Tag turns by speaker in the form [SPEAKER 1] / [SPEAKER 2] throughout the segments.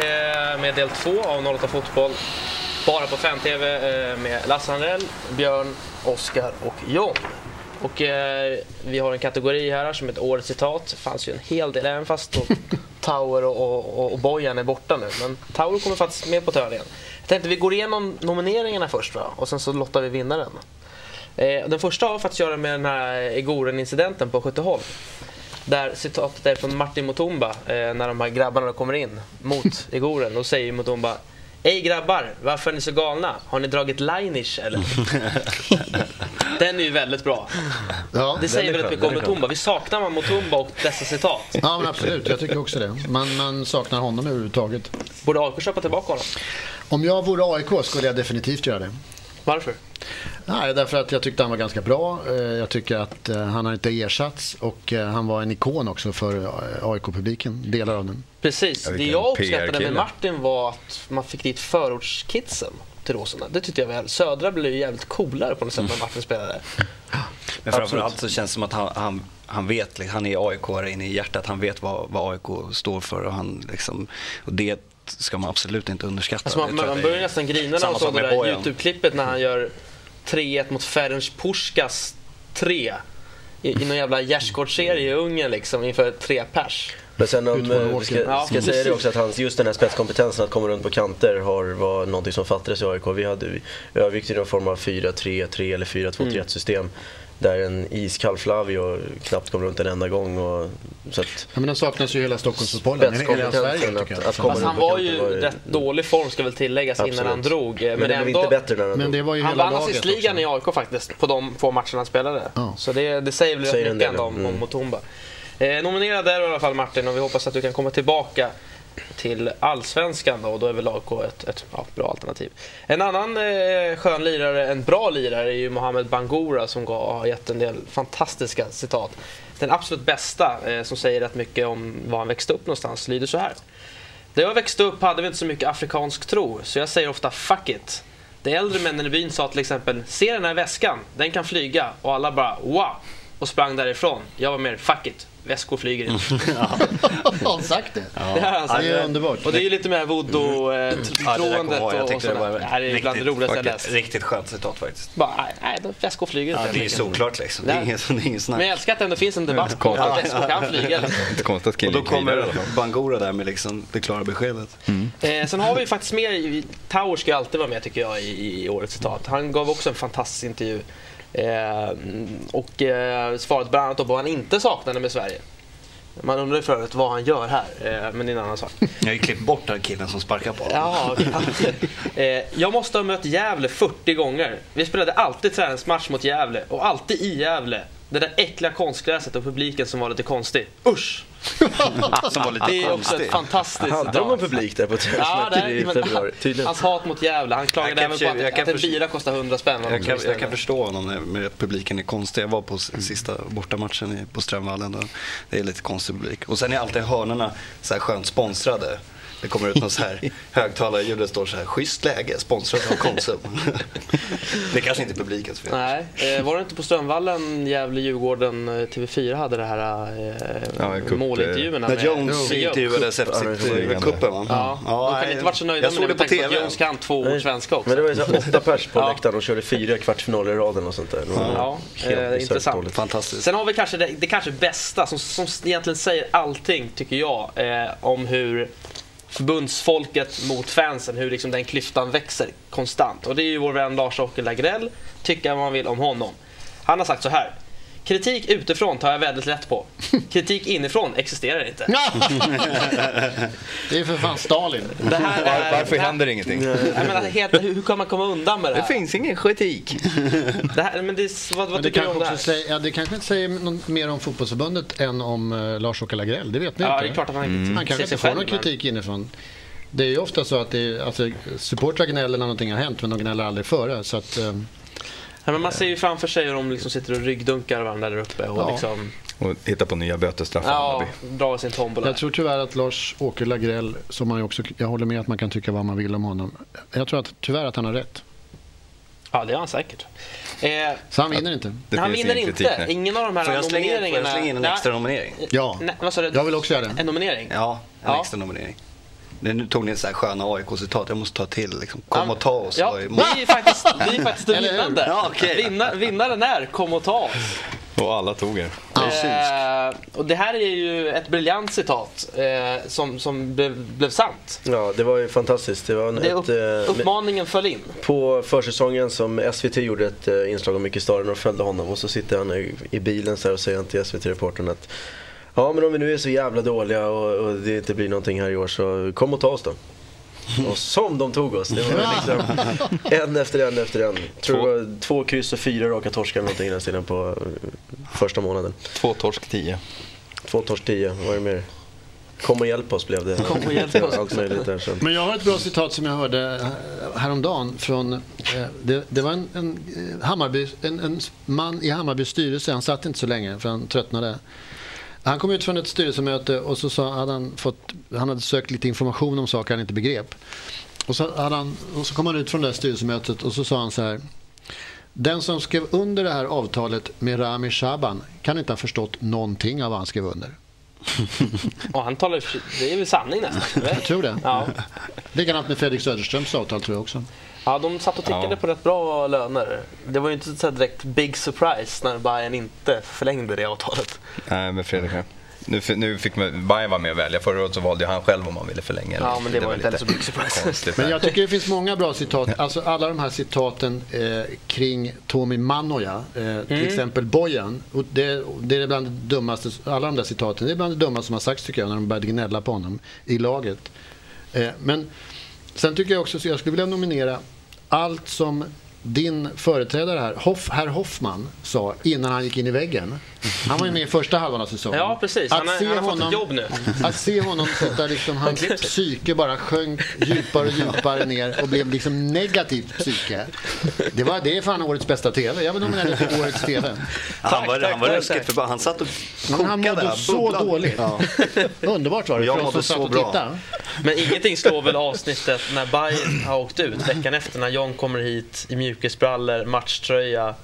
[SPEAKER 1] eh, med del två av 08 Fotboll. Bara på Fan-TV eh, med Lasse Handell, Björn, Oskar och John. Och eh, vi har en kategori här som heter Årets citat. Det fanns ju en hel del, även fast då Tower och, och, och Bojan är borta nu. Men Tower kommer faktiskt med på tävlingen. Jag tänkte vi går igenom nomineringarna först va? och sen så lottar vi vinnaren. Eh, den första har faktiskt att göra med den här Egoren-incidenten på Skytteholm. Där citatet är från Martin Mutumba eh, när de här grabbarna då kommer in mot Egoren. Då säger Mutumba Ej grabbar, varför är ni så galna? Har ni dragit Lainish eller? den är ju väldigt bra.
[SPEAKER 2] Ja,
[SPEAKER 1] Det säger
[SPEAKER 3] är
[SPEAKER 1] väldigt
[SPEAKER 3] skön,
[SPEAKER 1] mycket om
[SPEAKER 3] den är
[SPEAKER 1] Mutumba. Vi saknar man Mutumba och dessa citat.
[SPEAKER 2] ja men absolut. Jag tycker också det. Man, man saknar honom överhuvudtaget.
[SPEAKER 1] Borde AIK köpa tillbaka honom?
[SPEAKER 2] Om jag vore AIK skulle jag definitivt göra det.
[SPEAKER 1] Varför?
[SPEAKER 2] Nej, därför att jag tyckte han var ganska bra. Eh, Jag tycker att eh, han har inte ersatts och eh, han var en ikon också för eh, AIK-publiken, delar av den.
[SPEAKER 1] Precis.
[SPEAKER 3] Ja,
[SPEAKER 1] det
[SPEAKER 3] vilken
[SPEAKER 1] jag uppskattade
[SPEAKER 3] PR-kille.
[SPEAKER 1] med Martin var att man fick dit förortskidsen till Råsunda. Det tyckte jag väl. Södra blev ju jävligt coolare på något sätt när Martin spelade.
[SPEAKER 3] Men framförallt så känns det som att han, han, han vet, liksom, han är AIK inne i hjärtat. Han vet vad, vad AIK står för och, han, liksom, och det ska man absolut inte underskatta.
[SPEAKER 1] Alltså man,
[SPEAKER 3] Det tror jag
[SPEAKER 1] man
[SPEAKER 3] det
[SPEAKER 1] börjar
[SPEAKER 3] är-
[SPEAKER 1] nästan grina när
[SPEAKER 3] samma
[SPEAKER 1] man
[SPEAKER 3] sak
[SPEAKER 1] såg det
[SPEAKER 3] med
[SPEAKER 1] där
[SPEAKER 3] Bojan.
[SPEAKER 1] YouTube-klippet när han gör 3-1 mot Ferenc Puskas 3. I, i någon jävla gärdsgårdsserie i Ungern liksom inför tre pers.
[SPEAKER 4] Men sen om,
[SPEAKER 2] Ut på en
[SPEAKER 4] eh, vi
[SPEAKER 2] walkie.
[SPEAKER 4] ska,
[SPEAKER 1] Ja,
[SPEAKER 4] ska jag säga det också att hans, just den här spetskompetensen att komma runt på kanter har, var någonting som fattades i AIK. Vi hade övervikt i någon form av 4-3-3 eller
[SPEAKER 1] Mm.
[SPEAKER 4] 4-2-3-1 system. Där en iskall Flavio knappt kom runt en enda gång. Och, så att,
[SPEAKER 2] Ja, men den saknas ju i hela Stockholmsfotbollen, i hela Sverige
[SPEAKER 4] spetskompetensen
[SPEAKER 2] tycker
[SPEAKER 4] att,
[SPEAKER 2] jag.
[SPEAKER 4] att komma
[SPEAKER 1] Fast
[SPEAKER 4] runt
[SPEAKER 1] han
[SPEAKER 4] på
[SPEAKER 1] var
[SPEAKER 4] kanter
[SPEAKER 1] ju i rätt dålig form ska väl tilläggas innan
[SPEAKER 4] Absolut.
[SPEAKER 1] han drog. eh,
[SPEAKER 4] Men,
[SPEAKER 1] Men,
[SPEAKER 4] den blev
[SPEAKER 1] ändå.
[SPEAKER 4] inte bättre när han
[SPEAKER 2] Men det var ju
[SPEAKER 1] Han
[SPEAKER 2] hela
[SPEAKER 1] vann
[SPEAKER 2] laget
[SPEAKER 1] assistligan
[SPEAKER 2] också.
[SPEAKER 1] i AIK faktiskt på de få matcherna han spelade.
[SPEAKER 2] Ja.
[SPEAKER 1] Så det, det säger väl
[SPEAKER 4] Säger
[SPEAKER 1] rätt
[SPEAKER 4] en
[SPEAKER 1] mycket
[SPEAKER 4] del,
[SPEAKER 1] ändå om,
[SPEAKER 4] mm.
[SPEAKER 1] om Mutumba. Eh, nominerad är du i alla fall Martin och vi hoppas att du kan komma tillbaka till Allsvenskan då, och då är väl AIK ett, ett ja, bra alternativ. En annan eh, skön lirare, en bra lirare, är ju Mohamed Bangura som gav, har gett en del fantastiska citat. Den absolut bästa, eh, som säger rätt mycket om var han växte upp någonstans, lyder så här. Där jag växte upp hade vi inte så mycket afrikansk tro, så jag säger ofta fuck it. De äldre männen i byn sa till exempel “Se den här väskan, den kan flyga” och alla bara “Wow!” och sprang därifrån. Jag var mer “Fuck it, väskor flyger inte”.
[SPEAKER 2] Har han sagt det?
[SPEAKER 1] Det här har han sagt.
[SPEAKER 2] det är underbart.
[SPEAKER 1] Och det är ju lite med voodoo-troendet
[SPEAKER 3] Mm. Ja, det där kommer jag ihåg. Jag
[SPEAKER 1] och, och
[SPEAKER 3] tyckte det var
[SPEAKER 1] sådär. Det här är ju bland det
[SPEAKER 3] riktigt-
[SPEAKER 1] roligaste jag
[SPEAKER 3] faktiskt-
[SPEAKER 1] läst.
[SPEAKER 3] Riktigt skönt citat faktiskt.
[SPEAKER 1] Bara, nej, nej, de- väskor flyger inte.
[SPEAKER 3] Ja,
[SPEAKER 1] helt
[SPEAKER 3] det är ju
[SPEAKER 1] enkelt.
[SPEAKER 3] solklart liksom. Det är ingen, det är ingen
[SPEAKER 1] Men jag
[SPEAKER 3] snack.
[SPEAKER 1] älskar att det ändå finns en debatt på att väskor kan flyga. liksom.
[SPEAKER 5] Inte konstigt att
[SPEAKER 3] Och
[SPEAKER 5] killen
[SPEAKER 3] då
[SPEAKER 5] gick vidare i alla
[SPEAKER 3] kommer
[SPEAKER 5] fall.
[SPEAKER 3] Bangura där med liksom det klara beskedet.
[SPEAKER 1] Eh, sen har vi faktiskt med, i- Tower ska ju alltid vara med tycker jag i, i årets citat. Han gav också en fantastisk intervju. Eh, och eh, svarade bland annat på vad han inte saknade med Sverige. Man undrar ju för övrigt vad han gör här, eh, men det är en annan sak.
[SPEAKER 3] Jag har ju klippt bort den killen som sparkar på honom.
[SPEAKER 1] Ja, eh, jag måste ha mött Gävle 40 gånger. Vi spelade alltid träningsmatch mot Gävle och alltid i Gävle. Det där äckliga konstgräset och publiken som var lite konstig. Usch!
[SPEAKER 3] Som var lite
[SPEAKER 1] Det är också
[SPEAKER 3] konstig.
[SPEAKER 1] ett fantastiskt
[SPEAKER 4] Hade de någon publik där på
[SPEAKER 1] Ja,
[SPEAKER 4] träningsmatchen
[SPEAKER 1] där,
[SPEAKER 4] i
[SPEAKER 1] men,
[SPEAKER 4] februari? Tydligen.
[SPEAKER 1] hans hat mot Gävle, han klagade
[SPEAKER 3] Jag kan
[SPEAKER 1] även på
[SPEAKER 3] försö- jag
[SPEAKER 1] att,
[SPEAKER 3] kan
[SPEAKER 1] att en
[SPEAKER 3] försö-
[SPEAKER 1] bira kostar 100 spänn. vad de
[SPEAKER 3] Jag kan,
[SPEAKER 1] skulle
[SPEAKER 3] jag
[SPEAKER 1] beställa.
[SPEAKER 3] kan förstå honom när- med att publiken är konstig. Jag var på s- sista bortamatchen i- på Strömvallen och det är lite konstig publik. Och sen är alltid hörnorna så här skönt sponsrade. Det kommer ut någon så här högtalarljud det står så här schysst läge, sponsrad av Konsum. det är kanske inte är publikens fel.
[SPEAKER 1] Nej, eh, var det inte på Strömvallen, Gävle, Djurgården, eh, TV4 hade det här eh,
[SPEAKER 5] Ja, kupp, eh,
[SPEAKER 1] målintervjuerna
[SPEAKER 3] När Jones
[SPEAKER 1] med
[SPEAKER 3] intervjuades efter
[SPEAKER 4] Ja, det är
[SPEAKER 3] sitt
[SPEAKER 5] förvirrande.
[SPEAKER 3] eh, cupen va?
[SPEAKER 1] Ja, de kan
[SPEAKER 3] nej,
[SPEAKER 1] inte varit så nöjda
[SPEAKER 3] Jag
[SPEAKER 1] med
[SPEAKER 3] såg
[SPEAKER 1] det
[SPEAKER 3] det
[SPEAKER 1] med
[SPEAKER 3] på
[SPEAKER 1] tanke på att
[SPEAKER 3] TV.
[SPEAKER 1] Jones kan två ord svenska också. Mm.
[SPEAKER 4] Men det var ju så här åtta pers på
[SPEAKER 1] Ja.
[SPEAKER 4] läktaren och körde fyra kvartsfinaler i raden och sånt där. Det var
[SPEAKER 1] Ja,
[SPEAKER 4] helt
[SPEAKER 1] eh,
[SPEAKER 4] bisarrt
[SPEAKER 1] intressant.
[SPEAKER 4] dåligt.
[SPEAKER 3] Fantastiskt.
[SPEAKER 1] Sen har vi kanske det, det kanske bästa som, som egentligen säger allting, tycker jag, eh, om hur förbundsfolket mot fansen, hur liksom den klyftan växer konstant. Och det är ju vår vän Lars-Åke Lagrell, tycka vad man vill om honom. Han har sagt så här. Kritik utifrån tar jag väldigt lätt på. Kritik inifrån existerar inte.
[SPEAKER 2] det är för fan Stalin.
[SPEAKER 1] Det här är,
[SPEAKER 5] Varför
[SPEAKER 1] det här-
[SPEAKER 5] händer ingenting?
[SPEAKER 1] Jag menar, helt, hur, hur kan man komma undan med det
[SPEAKER 5] Det
[SPEAKER 1] här?
[SPEAKER 5] finns ingen kritik.
[SPEAKER 1] Det här men det, är- vad,
[SPEAKER 2] Men
[SPEAKER 1] vad
[SPEAKER 2] det,
[SPEAKER 1] tycker du
[SPEAKER 2] kanske
[SPEAKER 1] om det här?
[SPEAKER 2] också säger, ja, det kanske inte säger något mer om fotbollsförbundet än om eh, Lars-Åke Lagrell. Det vet ni
[SPEAKER 1] Ja,
[SPEAKER 2] inte.
[SPEAKER 1] det är klart att han inte
[SPEAKER 2] Mm. Han kanske
[SPEAKER 1] ser sig
[SPEAKER 2] inte får
[SPEAKER 1] själv.
[SPEAKER 2] någon
[SPEAKER 1] men-
[SPEAKER 2] kritik inifrån. Det är ju ofta så att det är, alltså, supportrar gnäller när någonting har hänt, men de gnäller aldrig före. Så att, eh,
[SPEAKER 1] Ja, men man ser ju framför sig hur de liksom sitter och ryggdunkar varandra där uppe och
[SPEAKER 2] Ja.
[SPEAKER 1] liksom
[SPEAKER 5] Och hitta på nya bötesstraff.
[SPEAKER 1] ja, drar sin tombola.
[SPEAKER 2] jag tror tyvärr att Lars-Åke Lagrell, som man ju också, jag håller med att man kan tycka vad man vill om honom. Jag tror att, tyvärr att han har rätt.
[SPEAKER 1] Ja, det har han säkert. Eh,
[SPEAKER 2] Så han vinner inte.
[SPEAKER 5] Det
[SPEAKER 1] han
[SPEAKER 5] finns
[SPEAKER 1] vinner
[SPEAKER 5] ingen
[SPEAKER 1] inte.
[SPEAKER 5] kritik, nej.
[SPEAKER 1] Ingen av de här
[SPEAKER 3] Får jag slänga in, får
[SPEAKER 1] nomineringarna.
[SPEAKER 3] jag slänga in en
[SPEAKER 1] Nej.
[SPEAKER 3] extra nominering?
[SPEAKER 2] Ja,
[SPEAKER 1] Nej, vad sa du?
[SPEAKER 2] jag vill också göra det.
[SPEAKER 1] En nominering?
[SPEAKER 3] Ja, en
[SPEAKER 1] Ja.
[SPEAKER 3] extra nominering. Nu tog ni en så här sköna AIK-citat, jag måste ta till liksom. Kom och ta oss.
[SPEAKER 1] Ja,
[SPEAKER 3] var ju-
[SPEAKER 1] vi är faktiskt, vi är faktiskt
[SPEAKER 2] Eller hur?
[SPEAKER 1] vinnande.
[SPEAKER 3] Ja, okej.
[SPEAKER 1] Vinna, vinnaren är Kom och ta oss.
[SPEAKER 5] Och alla tog er.
[SPEAKER 1] Eh, och det här är ju ett briljant citat eh, som, som blev, blev sant.
[SPEAKER 4] Ja, det var ju fantastiskt. Det var en,
[SPEAKER 1] Det upp,
[SPEAKER 4] ett, eh,
[SPEAKER 1] uppmaningen föll in.
[SPEAKER 4] På försäsongen som SVT gjorde ett eh, inslag om Micke Staren och följde honom och så sitter han i- i bilen så här och säger han till SVT-reportern att Ja men om vi nu är så jävla dåliga och, och det inte blir någonting här i år så kom och ta oss då. Och som de tog oss! Det var liksom en efter en efter en. Tror det var två kryss och fyra raka torskar eller någonting i den stilen på eh, första månaden.
[SPEAKER 5] Två torsk, tio.
[SPEAKER 4] Två torsk tio, vad är det mer? Kom och hjälp oss blev det.
[SPEAKER 1] Kom och hjälp oss.
[SPEAKER 4] Allt möjligt där sen.
[SPEAKER 2] Men jag har ett bra citat som jag hörde eh, häromdagen från, eh, det, det var en, en, eh, Hammarby, en, en man i Hammarbys styrelse, han satt inte så länge för han tröttnade. Han kom ut från ett styrelsemöte och så sa, hade han, fått, han hade sökt lite information om saker han inte begrep. Och så, hade han, och så kom han ut från det här styrelsemötet och så sa han så här. Den som skrev under det här avtalet med Rami Shaban kan inte ha förstått någonting av vad han skrev under.
[SPEAKER 1] Och han talar, ju- det är väl sanning nästan. eller?
[SPEAKER 2] Jag tror det.
[SPEAKER 1] Ja.
[SPEAKER 2] Likadant med Fredrik Söderströms avtal tror jag också.
[SPEAKER 1] ja, de satt och tickade
[SPEAKER 5] Ja.
[SPEAKER 1] på rätt bra löner. Det var ju inte så här direkt big surprise när Bayern inte förlängde det avtalet.
[SPEAKER 5] Nej, men Fredrik här. Nu, fi- nu fick man, Bayern vara med och välja. Förra året så valde ju han själv om han ville förlänga. eller
[SPEAKER 1] Ja,
[SPEAKER 5] inte.
[SPEAKER 1] men det var ju inte heller så
[SPEAKER 5] lite
[SPEAKER 1] big surprise.
[SPEAKER 5] konstigt.
[SPEAKER 2] Men jag tycker det finns många bra citat. Alltså alla de här citaten eh, kring Tomi Manoja, eh, till exempel Bojan. Och det, det är bland det dummaste, alla de där citaten, det är bland det dummaste som har sagts tycker jag när de började gnälla på honom i laget. Eh, men sen tycker jag också, så jag skulle vilja nominera allt som din företrädare här, Hoff, herr Hoffman, sa innan han gick in i väggen. Han var ju med i första halvan av säsongen.
[SPEAKER 1] Ja, precis.
[SPEAKER 2] Att
[SPEAKER 1] Han har-
[SPEAKER 2] se
[SPEAKER 1] han har fått ett jobb nu.
[SPEAKER 2] Att se honom sätta liksom, hans psyke bara sjönk djupare och djupare ner och blev liksom negativt psyke. Det, var, det är fan årets bästa TV. Jag vill nominera det till årets TV.
[SPEAKER 3] Han var,
[SPEAKER 1] Tack,
[SPEAKER 3] han var
[SPEAKER 1] tack,
[SPEAKER 3] ruskigt
[SPEAKER 1] tack.
[SPEAKER 3] förbannad. Han satt och
[SPEAKER 2] Men
[SPEAKER 3] kokade.
[SPEAKER 2] han mådde
[SPEAKER 3] han
[SPEAKER 2] så
[SPEAKER 3] bubblade.
[SPEAKER 2] dåligt.
[SPEAKER 3] Ja.
[SPEAKER 2] Underbart var det
[SPEAKER 3] Jag
[SPEAKER 2] för oss som
[SPEAKER 3] mådde
[SPEAKER 2] satt
[SPEAKER 3] så
[SPEAKER 2] och
[SPEAKER 3] bra.
[SPEAKER 2] tittade.
[SPEAKER 1] Men ingenting slår väl avsnittet när Bayern har åkt ut veckan efter när John kommer hit i mjukisbrallor, matchtröja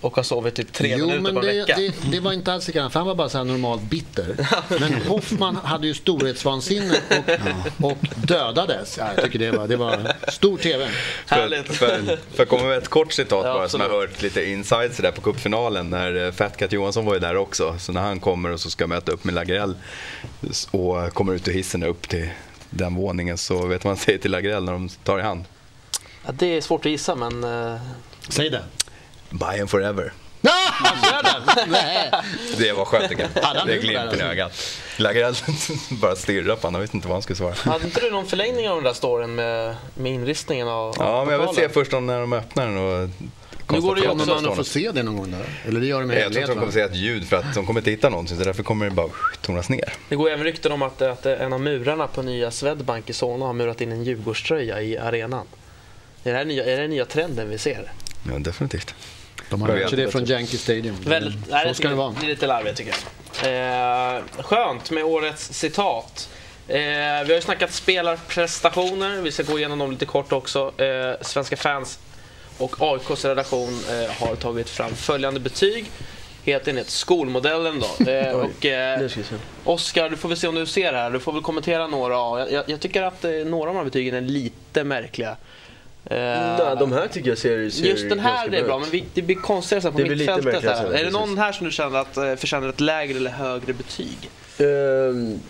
[SPEAKER 1] och har sovit typ tre
[SPEAKER 2] Jo,
[SPEAKER 1] minuter
[SPEAKER 2] men
[SPEAKER 1] på en
[SPEAKER 2] det,
[SPEAKER 1] vecka.
[SPEAKER 2] det, det var inte alls likadant, för han var bara så här normalt bitter. Men Hoffman hade ju storhetsvansinne och, och dödades. Ja, jag tycker det var, det var stor TV.
[SPEAKER 1] Härligt.
[SPEAKER 5] För, för, för att komma med ett kort citat
[SPEAKER 1] Ja,
[SPEAKER 5] bara som jag
[SPEAKER 1] absolut.
[SPEAKER 5] hört lite insides där på cupfinalen när eh, Fat Cat Johansson var ju där också. Så när han kommer och så ska möta upp med Lagrell s- och kommer ut ur hissen upp till den våningen så vet man säger till Lagrell när de tar i hand.
[SPEAKER 1] Ja, det är svårt att gissa, men... eh,
[SPEAKER 2] Säg det.
[SPEAKER 5] Bayern forever.
[SPEAKER 2] Ah! Nej.
[SPEAKER 5] Det var skönt tycker
[SPEAKER 2] Hade
[SPEAKER 5] jag.
[SPEAKER 2] han
[SPEAKER 5] Det är
[SPEAKER 2] humor där,
[SPEAKER 5] glimten i
[SPEAKER 2] alltså?
[SPEAKER 5] ögat. Lagrell bara stirrar på honom, han vet inte vad han ska svara.
[SPEAKER 1] Hade inte du någon förlängning av den där storyn med, med inristningen av
[SPEAKER 5] Ja,
[SPEAKER 1] av
[SPEAKER 5] men jag vill se
[SPEAKER 1] pokalen?
[SPEAKER 5] först om när de öppnar den och
[SPEAKER 1] ju
[SPEAKER 2] Kommer
[SPEAKER 5] konstaterar
[SPEAKER 1] också
[SPEAKER 5] att det
[SPEAKER 2] man
[SPEAKER 5] står
[SPEAKER 2] att få
[SPEAKER 5] någon.
[SPEAKER 2] se det någon gång? Där? Eller det gör de med
[SPEAKER 5] Jag tror inte
[SPEAKER 2] hemlighet,
[SPEAKER 5] de kommer
[SPEAKER 2] va?
[SPEAKER 5] säga ett ljud för att de kommer inte hitta någonting så därför kommer det bara tonas ner.
[SPEAKER 1] Det går även rykten om att, att en av murarna på nya Swedbank i Solna har murat in en Djurgårdströja i arenan. Är det, här nya, är det den nya trenden vi
[SPEAKER 2] Mm.
[SPEAKER 1] ser?
[SPEAKER 5] Ja, definitivt.
[SPEAKER 2] De har
[SPEAKER 5] Jag
[SPEAKER 2] lärt sig
[SPEAKER 5] vet
[SPEAKER 2] det
[SPEAKER 5] inte.
[SPEAKER 2] från Yankee Stadium.
[SPEAKER 1] Väldigt, nej,
[SPEAKER 2] Så ska
[SPEAKER 1] tycker
[SPEAKER 2] det
[SPEAKER 1] jag-
[SPEAKER 2] vara.
[SPEAKER 1] Det är lite larvigt tycker jag. Eh, skönt med årets citat. Eh, vi har ju snackat spelarprestationer, vi ska gå igenom dem lite kort också. Eh, svenska fans och AIKs redaktion eh, har tagit fram följande betyg. Helt enligt skolmodellen då. Eh, och, eh,
[SPEAKER 4] Nu ska vi se.
[SPEAKER 1] Oskar, du får väl se om du ser här. Du får väl kommentera några. av- Jag, jag, jag tycker att eh, några av de här betygen är lite märkliga. Eh,
[SPEAKER 4] Nej, de här tycker jag ser, ser
[SPEAKER 1] Just den här
[SPEAKER 4] ganska
[SPEAKER 1] det är bra, men vi, det blir konstigare sen på
[SPEAKER 4] Det blir lite
[SPEAKER 1] mittfältet.
[SPEAKER 4] märkligare
[SPEAKER 1] Här.
[SPEAKER 4] sen,
[SPEAKER 1] Är det
[SPEAKER 4] precis.
[SPEAKER 1] någon här som du känner att eh, förtjänar ett lägre eller högre betyg?
[SPEAKER 4] Ehm,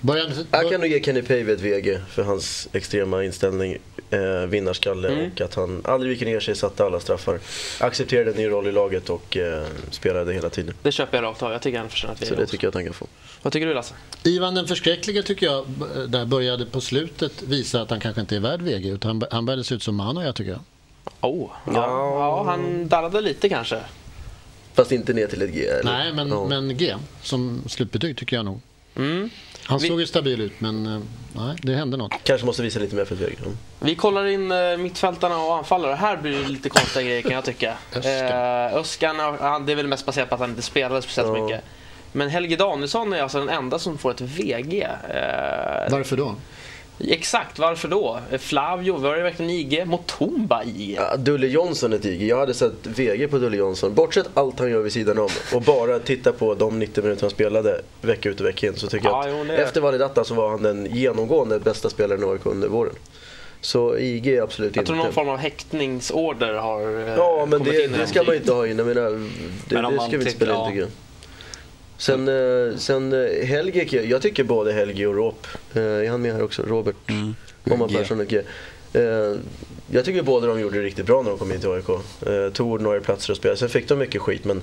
[SPEAKER 2] Börja,
[SPEAKER 4] Jag kan nog ge Kenny Pave ett VG för hans extrema inställning, eh, vinnarskalle
[SPEAKER 2] Mm.
[SPEAKER 4] och att han aldrig viker ner sig, satte alla straffar. Accepterade en ny roll i laget och eh, spelade hela tiden.
[SPEAKER 1] Det köper jag rakt av. Jag tycker han förtjänar ett
[SPEAKER 4] Så
[SPEAKER 1] VG
[SPEAKER 4] det
[SPEAKER 1] också.
[SPEAKER 4] tycker jag att han kan få.
[SPEAKER 1] Vad tycker du Lasse?
[SPEAKER 2] Ivan den förskräcklige tycker jag b- där började på slutet visa att han kanske inte är värd VG. Utan han, han började se ut som Manoja tycker jag.
[SPEAKER 1] Oh, ja. Ja, han darrade lite kanske.
[SPEAKER 4] Fast inte ner till ett G. Eller?
[SPEAKER 2] Nej, men,
[SPEAKER 4] Ja.
[SPEAKER 2] men G som slutbetyg tycker jag nog.
[SPEAKER 1] Mm.
[SPEAKER 2] Han
[SPEAKER 1] Vi-
[SPEAKER 2] såg ju stabil ut, men eh, nej, det hände något.
[SPEAKER 4] Kanske måste visa lite mer för ett VG. Mm.
[SPEAKER 1] Vi kollar in eh, mittfältarna och anfallare. Här blir det lite konstiga grejer kan jag tycka.
[SPEAKER 2] Öskan.
[SPEAKER 1] Eh, Öskan, har- han, det är väl mest baserat på att han inte spelade speciellt
[SPEAKER 4] Ja.
[SPEAKER 1] mycket. Men Helge Danielsson är alltså den enda som får ett VG. Eh,
[SPEAKER 2] Varför då?
[SPEAKER 1] Exakt, varför då? Flavio, var det verkligen IG? Motumba IG?
[SPEAKER 4] Ja, Dulle Jonsson är ett IG. Jag hade sett VG på Dulle Jonsson. Bortsett allt han gör vid sidan om och bara titta på de 90 minuter han spelade vecka ut och vecka in så tycker jag
[SPEAKER 1] Ja,
[SPEAKER 4] att
[SPEAKER 1] jo, det-
[SPEAKER 4] efter Validata så var han den genomgående bästa spelaren i AIK under våren. Så IG är absolut
[SPEAKER 1] Jag
[SPEAKER 4] inte...
[SPEAKER 1] tror någon form av häktningsorder har eh,
[SPEAKER 4] Ja, men
[SPEAKER 1] kommit
[SPEAKER 4] det,
[SPEAKER 1] in.
[SPEAKER 4] det ska man inte ha in. Jag menar, det,
[SPEAKER 3] Men om
[SPEAKER 4] det
[SPEAKER 3] man
[SPEAKER 4] ska vi inte
[SPEAKER 3] tycker-
[SPEAKER 4] spela
[SPEAKER 3] ja.
[SPEAKER 4] in tycker jag. Sen, eh, sen eh, Helge, kan jag- jag tycker både Helge och Råp, eh, är han med här också? Robert
[SPEAKER 3] Mm.
[SPEAKER 4] Omar
[SPEAKER 3] G.
[SPEAKER 4] Persson och G. Eh, jag tycker båda de gjorde det riktigt bra när de kom in till AIK. Eh, tog ordinarie platser och spelade. Sen fick de mycket skit men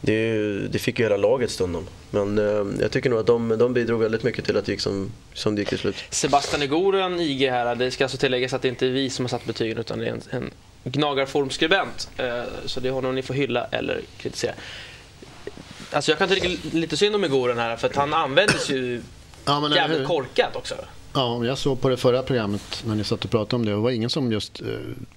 [SPEAKER 4] det, är ju, det fick ju hela laget stundom. Men eh, jag tycker nog att de, de bidrog väldigt mycket till att det gick som, som det gick till slut.
[SPEAKER 3] Mm.
[SPEAKER 1] Sebastian Egoren, IG här. Det ska alltså tilläggas att det inte är vi som har satt betygen utan det är en, en gnagarformskribent. Eh, Så det är honom ni får hylla eller kritisera. Alltså jag kan tycka lite synd om Egoren här för att han användes ju
[SPEAKER 2] Ja, men eller
[SPEAKER 1] jävligt
[SPEAKER 2] hur?
[SPEAKER 1] korkat också.
[SPEAKER 2] Ja, jag såg på det förra programmet när ni satt och pratade om det och det var ingen som just eh,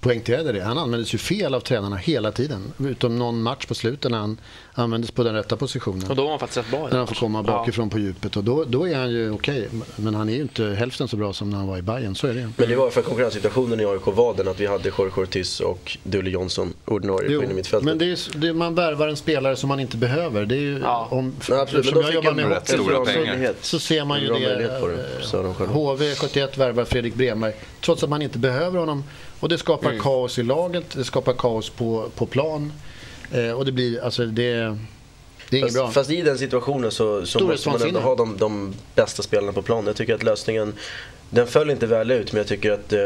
[SPEAKER 2] poängterade det. Han användes ju fel av tränarna hela tiden. Utom någon match på slutet när han användes på den rätta positionen.
[SPEAKER 1] Och då var han faktiskt rätt bra. i
[SPEAKER 2] När
[SPEAKER 1] den
[SPEAKER 2] han får
[SPEAKER 1] matchen.
[SPEAKER 2] komma
[SPEAKER 1] Ja.
[SPEAKER 2] bakifrån på djupet och då, då är han ju okej. Men han är ju inte hälften så bra som när han var i Bayern, så är det ju.
[SPEAKER 4] Men det var för att konkurrenssituationen i AIK var den att vi hade Jorge Ortiz och Dulle Jonsson ordinarie
[SPEAKER 2] Jo,
[SPEAKER 4] på innermittfältet.
[SPEAKER 2] men det är, ju s- det, man värvar en spelare som man inte behöver. Det är ju,
[SPEAKER 1] Ja.
[SPEAKER 2] om,
[SPEAKER 4] Nej, absolut, men
[SPEAKER 2] eftersom
[SPEAKER 4] de
[SPEAKER 2] jag
[SPEAKER 4] fick
[SPEAKER 2] jobbar
[SPEAKER 4] en
[SPEAKER 2] med
[SPEAKER 5] rätt
[SPEAKER 2] hockey
[SPEAKER 5] stora
[SPEAKER 2] så-
[SPEAKER 5] pengar.
[SPEAKER 2] så ser man ju
[SPEAKER 4] Bra
[SPEAKER 2] det. eh,
[SPEAKER 4] möjlighet på det, sa de själva.
[SPEAKER 2] HV71 värvar Fredrik Bremer trots att man inte behöver honom. Och det skapar
[SPEAKER 4] Mm.
[SPEAKER 2] kaos i laget, det skapar kaos på, på plan. Eh, och det blir, alltså det, det är inget
[SPEAKER 4] Fast,
[SPEAKER 2] bra.
[SPEAKER 4] fast i den situationen så, så måste man ändå
[SPEAKER 2] Storhetsvansinne.
[SPEAKER 4] ha de, de bästa spelarna på plan. Jag tycker att lösningen, den föll inte väl ut men jag tycker att eh,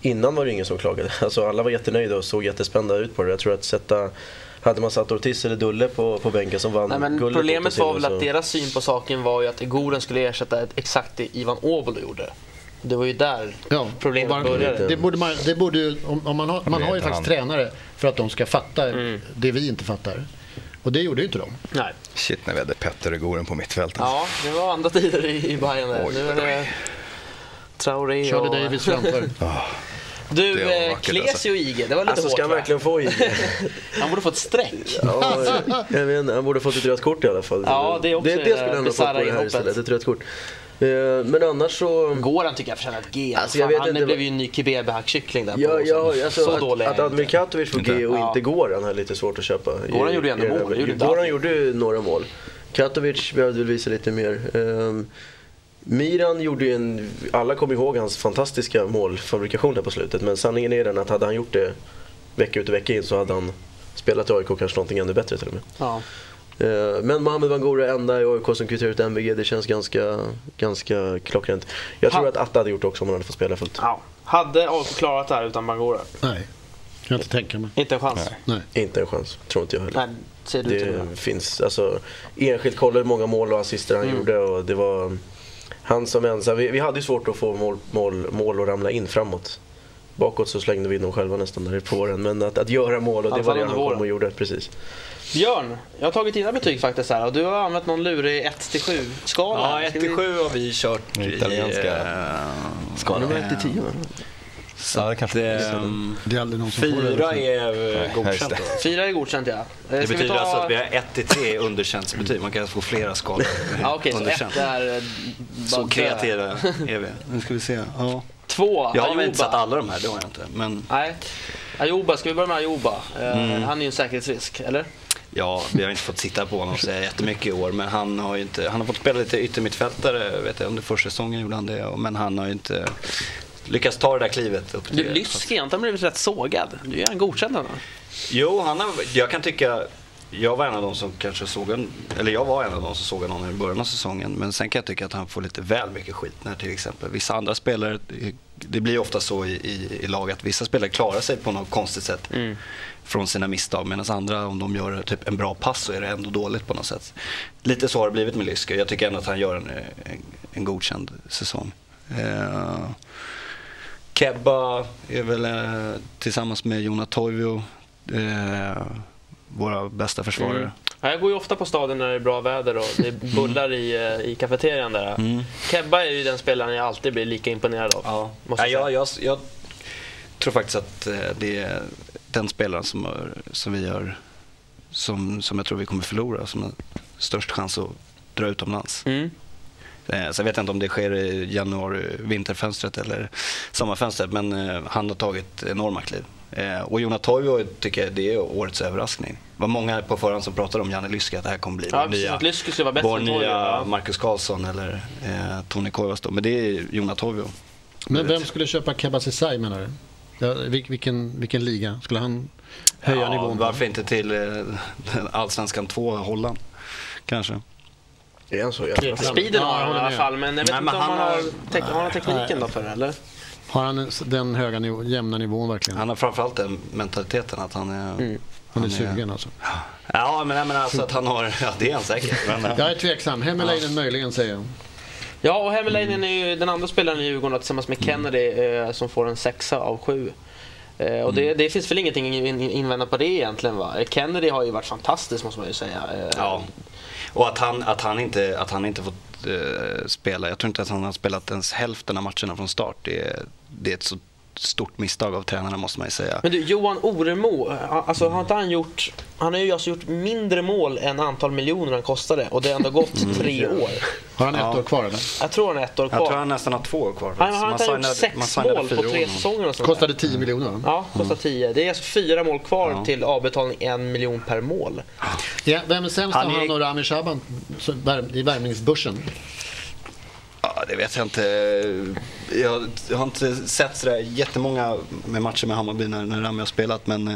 [SPEAKER 4] innan var det ingen som klagade. Alltså alla var jättenöjda och såg jättespända ut på det. Jag tror att sätta, hade man satt Ortiz eller Dulle på, på bänken som vann
[SPEAKER 1] Nej, men
[SPEAKER 4] guldet
[SPEAKER 1] problemet
[SPEAKER 4] åt oss
[SPEAKER 1] var väl
[SPEAKER 4] så-
[SPEAKER 1] att deras syn på saken var ju att Egoren skulle ersätta ett, exakt det Ivan Åbolo gjorde. Det var ju där
[SPEAKER 2] Ja,
[SPEAKER 1] problemet
[SPEAKER 2] och bara-
[SPEAKER 1] började.
[SPEAKER 2] Det borde man, det borde ju, om, om man har, man
[SPEAKER 5] det
[SPEAKER 2] har ju
[SPEAKER 5] heter
[SPEAKER 2] faktiskt
[SPEAKER 5] han.
[SPEAKER 2] tränare för att de ska fatta
[SPEAKER 4] Mm.
[SPEAKER 2] det vi inte fattar. Och det gjorde ju inte de.
[SPEAKER 1] Nej.
[SPEAKER 5] Shit, när vi hade Petter och Goren på mittfältet.
[SPEAKER 1] Ja, det var andra tider i, i Bayern där.
[SPEAKER 5] Oj,
[SPEAKER 1] Nu är det Traoré
[SPEAKER 2] Körde
[SPEAKER 1] och...
[SPEAKER 2] Davis framför.
[SPEAKER 1] Du,
[SPEAKER 5] Det var
[SPEAKER 1] eh,
[SPEAKER 5] vackert,
[SPEAKER 1] Klesi
[SPEAKER 5] alltså.
[SPEAKER 1] och IG, det var lite
[SPEAKER 4] Alltså
[SPEAKER 1] hårt
[SPEAKER 4] ska han
[SPEAKER 1] va?
[SPEAKER 4] verkligen få IG?
[SPEAKER 1] Han borde få ett streck.
[SPEAKER 4] Ja, jag vet, inte, han borde fått ett rött kort i alla fall.
[SPEAKER 1] Ja, det är också eh,
[SPEAKER 4] det, det skulle han ha fått
[SPEAKER 1] bisarra
[SPEAKER 4] på det här
[SPEAKER 1] inhoppet.
[SPEAKER 4] istället, ett rött kort. Eh, Men annars så...
[SPEAKER 1] Går han tycker jag förtjänar ett G.
[SPEAKER 4] Alltså, jag
[SPEAKER 1] Fan,
[SPEAKER 4] vet
[SPEAKER 1] han
[SPEAKER 4] inte
[SPEAKER 1] blev
[SPEAKER 4] vad-
[SPEAKER 1] ju en ny kebebhackkyckling där
[SPEAKER 4] Ja,
[SPEAKER 1] på
[SPEAKER 4] ja,
[SPEAKER 1] ja,
[SPEAKER 4] alltså,
[SPEAKER 1] Så
[SPEAKER 4] att,
[SPEAKER 1] dålig är
[SPEAKER 4] att
[SPEAKER 1] jag inte.
[SPEAKER 4] Admikatovic får G och
[SPEAKER 1] Ja.
[SPEAKER 4] inte Goran har lite svårt att köpa. i-
[SPEAKER 1] Goran gjorde ju ändå
[SPEAKER 4] i den här-
[SPEAKER 1] mål, det gjorde inte
[SPEAKER 4] Goran
[SPEAKER 1] allt.
[SPEAKER 4] gjorde ju några mål. Katovic behövde väl visa lite mer. Ehm, Miran gjorde ju en, alla kommer ihåg hans fantastiska målfabrikation där på slutet men sanningen är den att hade han gjort det vecka ut och vecka in så hade han spelat i AIK kanske någonting ännu bättre till och med.
[SPEAKER 1] Ja.
[SPEAKER 4] Eh, Men Mohamed Bangura är enda i AIK som kvitterar ut MVG, det känns ganska, ganska klockrent. Jag tror
[SPEAKER 1] Han-
[SPEAKER 4] att Atta hade gjort det också om han hade fått spela fullt.
[SPEAKER 1] ja. Hade AIK klarat det här utan Bangora?
[SPEAKER 2] Nej, kan jag inte tänka mig.
[SPEAKER 1] Inte en chans.
[SPEAKER 5] Nej.
[SPEAKER 2] Nej.
[SPEAKER 4] Inte en chans, tror inte jag heller.
[SPEAKER 1] Nej, säger du till och
[SPEAKER 4] Det
[SPEAKER 1] med.
[SPEAKER 4] finns, alltså, enskilt kollar hur många mål och assister han gjorde och det var han som ensam. Vi, vi hade ju svårt att få mål, mål, mål att ramla in framåt. Bakåt så slängde vi in dem själva nästan där på våren. Men att, att göra mål, och det
[SPEAKER 1] Anfall
[SPEAKER 4] var det
[SPEAKER 1] under
[SPEAKER 4] han
[SPEAKER 1] våren.
[SPEAKER 4] kom och gjorde. Precis.
[SPEAKER 1] Björn, jag har tagit dina betyg faktiskt här och du har använt någon lurig 1-7 skala.
[SPEAKER 6] Ja, 1 till 7 har vi kört
[SPEAKER 5] Den italienska
[SPEAKER 1] eh,
[SPEAKER 6] skalan.
[SPEAKER 5] Ja, det kanske
[SPEAKER 1] ehm,
[SPEAKER 2] Det är aldrig någon som får det.
[SPEAKER 6] Fyra är eh,
[SPEAKER 5] just
[SPEAKER 6] godkänt
[SPEAKER 5] det.
[SPEAKER 6] då.
[SPEAKER 1] 4 är godkänt ja. Eh, ska
[SPEAKER 3] Det
[SPEAKER 1] vi
[SPEAKER 3] betyder
[SPEAKER 1] ta-
[SPEAKER 3] alltså att vi har 1 till 3 underkänsbetyg. Man kan alltså få flera skalor
[SPEAKER 1] Ja, okej, så
[SPEAKER 3] underkänt.
[SPEAKER 1] ett är... eh,
[SPEAKER 3] Så
[SPEAKER 1] bara-
[SPEAKER 3] kreativa är vi. Nu ska vi se. Ja.
[SPEAKER 1] Två,
[SPEAKER 3] Jag har väl inte
[SPEAKER 1] Ayoba.
[SPEAKER 3] satt alla de här, det har jag inte. Men
[SPEAKER 1] Nej. Ayoba, ska vi börja med Ayoba? Eh,
[SPEAKER 3] Mm.
[SPEAKER 1] Han är ju en säkerhetsrisk, eller?
[SPEAKER 3] ja, vi har inte fått sitta på honom så jättemycket i år. Men han har ju inte, han har fått spela lite yttermittfältare, vet jag, under försäsongen gjorde han det. Men han har ju inte lyckats ta det där klivet upp
[SPEAKER 1] Du, Lyski, har inte han blivit rätt sågad? Du är en godkänd ändå.
[SPEAKER 3] Jo, han har, jag kan tycka... Jag var en av de som kanske såg en, eller jag var en av de som såg honom i början av säsongen. Men sen kan jag tycka att han får lite väl mycket skit när till exempel vissa andra spelare, det blir ju ofta så i, i, i lag att vissa spelare klarar sig på något konstigt sätt från sina misstag. Medan andra, om de gör typ en bra pass så är det ändå dåligt på något sätt. Lite så har det blivit med Lyske. Jag tycker ändå att han gör en, en, en godkänd säsong. Eh, Kebba är väl eh, tillsammans med Jona Toivio eh, våra bästa försvarare.
[SPEAKER 1] Mm. Ja, jag går ju ofta på staden när det är bra väder och det
[SPEAKER 3] Mm.
[SPEAKER 1] bullar i, eh, i kafeterian där. Kebba är ju den spelaren jag alltid blir lika imponerad av.
[SPEAKER 3] Ja.
[SPEAKER 1] Måste
[SPEAKER 3] Nej,
[SPEAKER 1] jag
[SPEAKER 3] jag,
[SPEAKER 1] säga.
[SPEAKER 3] jag, jag tror faktiskt att eh, det är den spelaren som, har- som vi gör som, som jag tror vi kommer förlora som har störst chans att dra utomlands.
[SPEAKER 1] Mm.
[SPEAKER 3] Eh, Sen vet jag inte om det sker i januari, vinterfönstret eller sommarfönstret, men eh, han har tagit enorma kliv. Eh, Och Jona Toivo tycker jag det är årets överraskning. Det var många på förhand som pratade om Janne Lyska, att det här kommer bli
[SPEAKER 1] Ja,
[SPEAKER 3] vår
[SPEAKER 1] precis.
[SPEAKER 3] nya,
[SPEAKER 1] Att Lysko skulle vara bättre
[SPEAKER 3] vår
[SPEAKER 1] än Toivo,
[SPEAKER 3] nya
[SPEAKER 1] ja.
[SPEAKER 3] Marcus Karlsson eller eh, Tony Koivas. då. Men det är Jona Toivo.
[SPEAKER 2] Men
[SPEAKER 3] typ-
[SPEAKER 2] vem skulle köpa Kabasisai menar du? Ja, vil- vilken, vilken liga? Skulle han höja
[SPEAKER 3] ja,
[SPEAKER 2] nivån? på?
[SPEAKER 3] Varför inte till eh, Allsvenskan 2, Holland? Kanske.
[SPEAKER 4] Är han så
[SPEAKER 2] Kul.
[SPEAKER 4] jävla snabb?
[SPEAKER 1] Speeden
[SPEAKER 2] Ja,
[SPEAKER 1] har
[SPEAKER 2] jag
[SPEAKER 1] han i
[SPEAKER 2] håller
[SPEAKER 1] alla
[SPEAKER 2] med.
[SPEAKER 1] fall, men jag vet
[SPEAKER 3] Nej,
[SPEAKER 1] inte
[SPEAKER 3] men
[SPEAKER 1] om han
[SPEAKER 3] han
[SPEAKER 1] har,
[SPEAKER 3] har-
[SPEAKER 1] tek- har han tekniken då för det, eller?
[SPEAKER 2] Har han den höga nivå, jämna nivån verkligen?
[SPEAKER 3] Han har framförallt den mentaliteten att han är...
[SPEAKER 2] Mm. Han är sugen alltså.
[SPEAKER 3] Ja, men jag menar alltså att han har... Ja, det är han säkert. Men, eh,
[SPEAKER 2] Jag är tveksam. Hemmelainen möjligen säger jag.
[SPEAKER 1] Ja, och Hemmelainen är ju den andra spelaren i Djurgården tillsammans
[SPEAKER 3] Mm.
[SPEAKER 1] med Kennedy eh, som får en sexa av sju. Eh, och
[SPEAKER 3] Mm.
[SPEAKER 1] det, det finns väl ingenting in- in- invända på det egentligen va? Eh, Kennedy har ju varit fantastisk måste man ju säga. Eh,
[SPEAKER 3] Ja. Och att han, att han, inte, att han inte fått eh, spela. Jag tror inte att han har spelat ens hälften av matcherna från start. Det är, det är ett så stort misstag av tränarna måste man ju säga.
[SPEAKER 1] Men du, Johan Oremo, eh, alltså har inte han gjort... Han har ju alltså gjort mindre mål än antal miljoner han kostade och det har ändå gått tre år.
[SPEAKER 2] Har han ett
[SPEAKER 3] Ja.
[SPEAKER 2] år kvar eller?
[SPEAKER 1] Jag tror han har ett år
[SPEAKER 3] Mm, Jag tror
[SPEAKER 1] kvar.
[SPEAKER 3] han nästan har två år kvar.
[SPEAKER 1] Han har inte gjort
[SPEAKER 3] man
[SPEAKER 1] sex
[SPEAKER 3] signade
[SPEAKER 1] mål på
[SPEAKER 3] fyra år
[SPEAKER 1] tre
[SPEAKER 3] någon.
[SPEAKER 1] säsonger och sånt där.
[SPEAKER 2] Kostade
[SPEAKER 3] Mm.
[SPEAKER 2] 10 miljoner va?
[SPEAKER 1] Ja, kostar 10. Det är alltså fyra mål kvar
[SPEAKER 3] Ja.
[SPEAKER 1] till avbetalning, en miljon per mål.
[SPEAKER 2] Ja, vem är sämst
[SPEAKER 3] Han
[SPEAKER 2] av
[SPEAKER 3] är-
[SPEAKER 2] han och Rami Shaban så- värm- i värmningsbörsen?
[SPEAKER 3] Ja, det vet jag inte. Jag har inte sett sådär jättemånga med matcher med Hammarby när, när Rami har spelat. Men eh,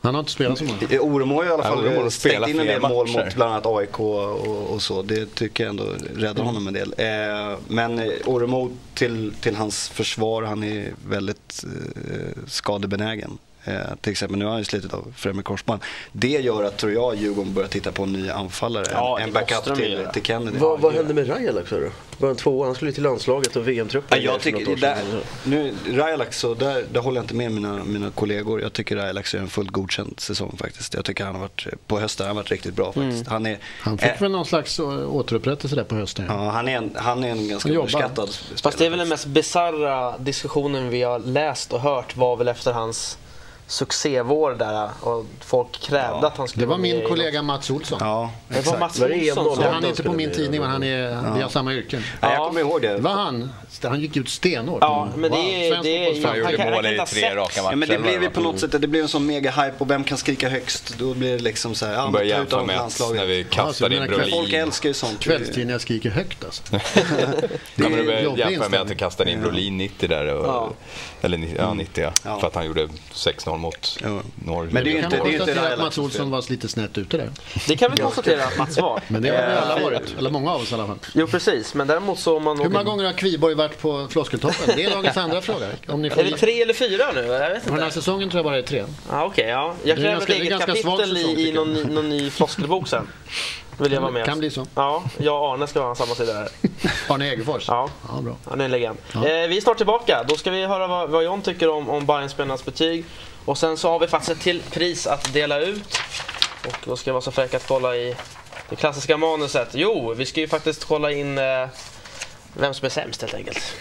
[SPEAKER 2] Han har inte spelat så många.
[SPEAKER 3] Oremo har ju i alla
[SPEAKER 5] Ja,
[SPEAKER 3] fall eh,
[SPEAKER 5] Oremo har
[SPEAKER 3] stängt
[SPEAKER 5] spelat
[SPEAKER 3] in en del
[SPEAKER 5] flera
[SPEAKER 3] mål
[SPEAKER 5] matcher.
[SPEAKER 3] mot bland annat AIK och, och så. Det tycker jag ändå räddar honom en del. Eh, men eh, Oremo till, till hans försvar, han är väldigt eh, skadebenägen. Eh, till exempel nu har han ju slitit av främre korsband. Det gör att, tror jag, Djurgården börjar titta på en ny anfallare.
[SPEAKER 1] Ja,
[SPEAKER 3] en,
[SPEAKER 1] det
[SPEAKER 3] en
[SPEAKER 1] måste
[SPEAKER 3] backup
[SPEAKER 1] de
[SPEAKER 3] till,
[SPEAKER 1] göra.
[SPEAKER 3] till Kennedy.
[SPEAKER 4] Vad, vad hände med Rajalak sa du? Var han tvåa? Han skulle ju till landslaget och
[SPEAKER 3] Ja,
[SPEAKER 4] VM-truppen.
[SPEAKER 3] jag
[SPEAKER 4] för något
[SPEAKER 3] tycker,
[SPEAKER 4] år
[SPEAKER 3] där,
[SPEAKER 4] sedan.
[SPEAKER 3] nu, Rajalak, så där, där håller jag inte med mina, mina kollegor. Jag tycker Rajalak gör en fullt godkänd säsong faktiskt. Jag tycker han har varit, på hösten har han varit riktigt bra faktiskt. Han är,
[SPEAKER 2] Han fick
[SPEAKER 3] eh,
[SPEAKER 2] väl någon slags å- återupprättelse där på hösten. Ja.
[SPEAKER 3] ja, han, är en, han är en ganska
[SPEAKER 2] Han jobbar.
[SPEAKER 3] underskattad spelare.
[SPEAKER 1] Fast det är väl den mest bisarra diskussionen vi har läst och hört var väl efter hans succévår där äh, och folk krävde
[SPEAKER 3] Ja.
[SPEAKER 1] att han skulle
[SPEAKER 2] Det var
[SPEAKER 1] vara med
[SPEAKER 2] min
[SPEAKER 1] i-
[SPEAKER 2] kollega Mats Olsson.
[SPEAKER 3] Ja,
[SPEAKER 1] Det var
[SPEAKER 3] exakt.
[SPEAKER 1] Mats
[SPEAKER 4] Var det
[SPEAKER 1] Olsson
[SPEAKER 4] EM-noll?
[SPEAKER 1] som...
[SPEAKER 2] Han är inte
[SPEAKER 4] skulle
[SPEAKER 2] på min
[SPEAKER 4] bli-
[SPEAKER 2] tidning men han är, vi har samma yrken.
[SPEAKER 3] Ja,
[SPEAKER 1] Ja.
[SPEAKER 3] jag kommer ihåg
[SPEAKER 2] Det
[SPEAKER 3] det.
[SPEAKER 2] var han. Han gick ut stenhårt.
[SPEAKER 1] Ja, men det är...
[SPEAKER 2] Svensk
[SPEAKER 1] det är
[SPEAKER 2] fotbollsfan.
[SPEAKER 5] Han
[SPEAKER 1] kan-
[SPEAKER 5] gjorde mål
[SPEAKER 1] kan
[SPEAKER 5] i
[SPEAKER 1] inte ha
[SPEAKER 5] tre
[SPEAKER 1] sett-
[SPEAKER 5] raka matcher.
[SPEAKER 3] Ja, men det
[SPEAKER 5] eller
[SPEAKER 3] blev ju
[SPEAKER 5] vad
[SPEAKER 3] på något sätt, det blev en sån mega-hype och vem kan skrika högst? Då blir det liksom så här, ja
[SPEAKER 5] Han
[SPEAKER 3] men
[SPEAKER 5] börjar
[SPEAKER 3] ta ut
[SPEAKER 5] jämföra
[SPEAKER 3] honom
[SPEAKER 5] med
[SPEAKER 3] från
[SPEAKER 5] att när
[SPEAKER 3] landslaget.
[SPEAKER 5] vi
[SPEAKER 2] så
[SPEAKER 5] kastade
[SPEAKER 2] menar
[SPEAKER 5] in
[SPEAKER 2] jag-
[SPEAKER 5] Brolin.
[SPEAKER 3] Folk älskar ju sånt.
[SPEAKER 2] Kvällstidningar skriker högt alltså.
[SPEAKER 5] Ja, men
[SPEAKER 2] Det är
[SPEAKER 5] du
[SPEAKER 2] jobbig
[SPEAKER 5] jämför med att du
[SPEAKER 2] inställning.
[SPEAKER 5] kastade in Brolin 90 där. Och,
[SPEAKER 1] Ja.
[SPEAKER 5] Eller ni- ja, 90 ja,
[SPEAKER 3] Ja.
[SPEAKER 5] För att han gjorde 6-0 mot
[SPEAKER 3] Ja.
[SPEAKER 5] Norge.
[SPEAKER 3] Men det är ju
[SPEAKER 2] Kan
[SPEAKER 3] inte-
[SPEAKER 2] man konstatera att
[SPEAKER 3] Rajalak
[SPEAKER 2] Mats
[SPEAKER 3] som
[SPEAKER 2] Olsson var lite snett ute där.
[SPEAKER 1] Det kan vi konstatera att Mats var.
[SPEAKER 2] Men det har
[SPEAKER 1] Eh,
[SPEAKER 2] vi alla varit. Eller många av oss i alla fall.
[SPEAKER 1] Jo precis, men däremot så om man...
[SPEAKER 2] Hur
[SPEAKER 1] åker-
[SPEAKER 2] många gånger har Kviborg varit på Floskeltoppen? Det är dagens andra fråga. Om ni får...
[SPEAKER 1] Är det tre eller fyra nu? Jag vet
[SPEAKER 2] På den
[SPEAKER 1] inte.
[SPEAKER 2] här säsongen tror jag bara det är tre.
[SPEAKER 1] Ja, Okej, ja. Jag
[SPEAKER 2] Det är
[SPEAKER 1] kräver
[SPEAKER 2] ganska- det är
[SPEAKER 1] ett eget
[SPEAKER 2] ganska svag
[SPEAKER 1] kapitel
[SPEAKER 2] säsong,
[SPEAKER 1] i, i
[SPEAKER 2] tycker jag.
[SPEAKER 1] någon, ny- någon ny floskelbok sen. Vill jag vara med.
[SPEAKER 2] Kan bli så.
[SPEAKER 1] Ja, jag och Arne ska vara på samma sida där.
[SPEAKER 2] Arne Egerfors?
[SPEAKER 1] Ja.
[SPEAKER 2] ja bra.
[SPEAKER 1] Han är en legend.
[SPEAKER 2] Ja.
[SPEAKER 1] Eh, vi är snart tillbaka. Då ska vi höra vad, vad John tycker om, om Bayern-spelarnas betyg. Och sen så har vi faktiskt ett till pris att dela ut. Och då ska jag vara så fräck att kolla i det klassiska manuset. Jo, vi ska ju faktiskt kolla in eh, vem som är sämst helt enkelt.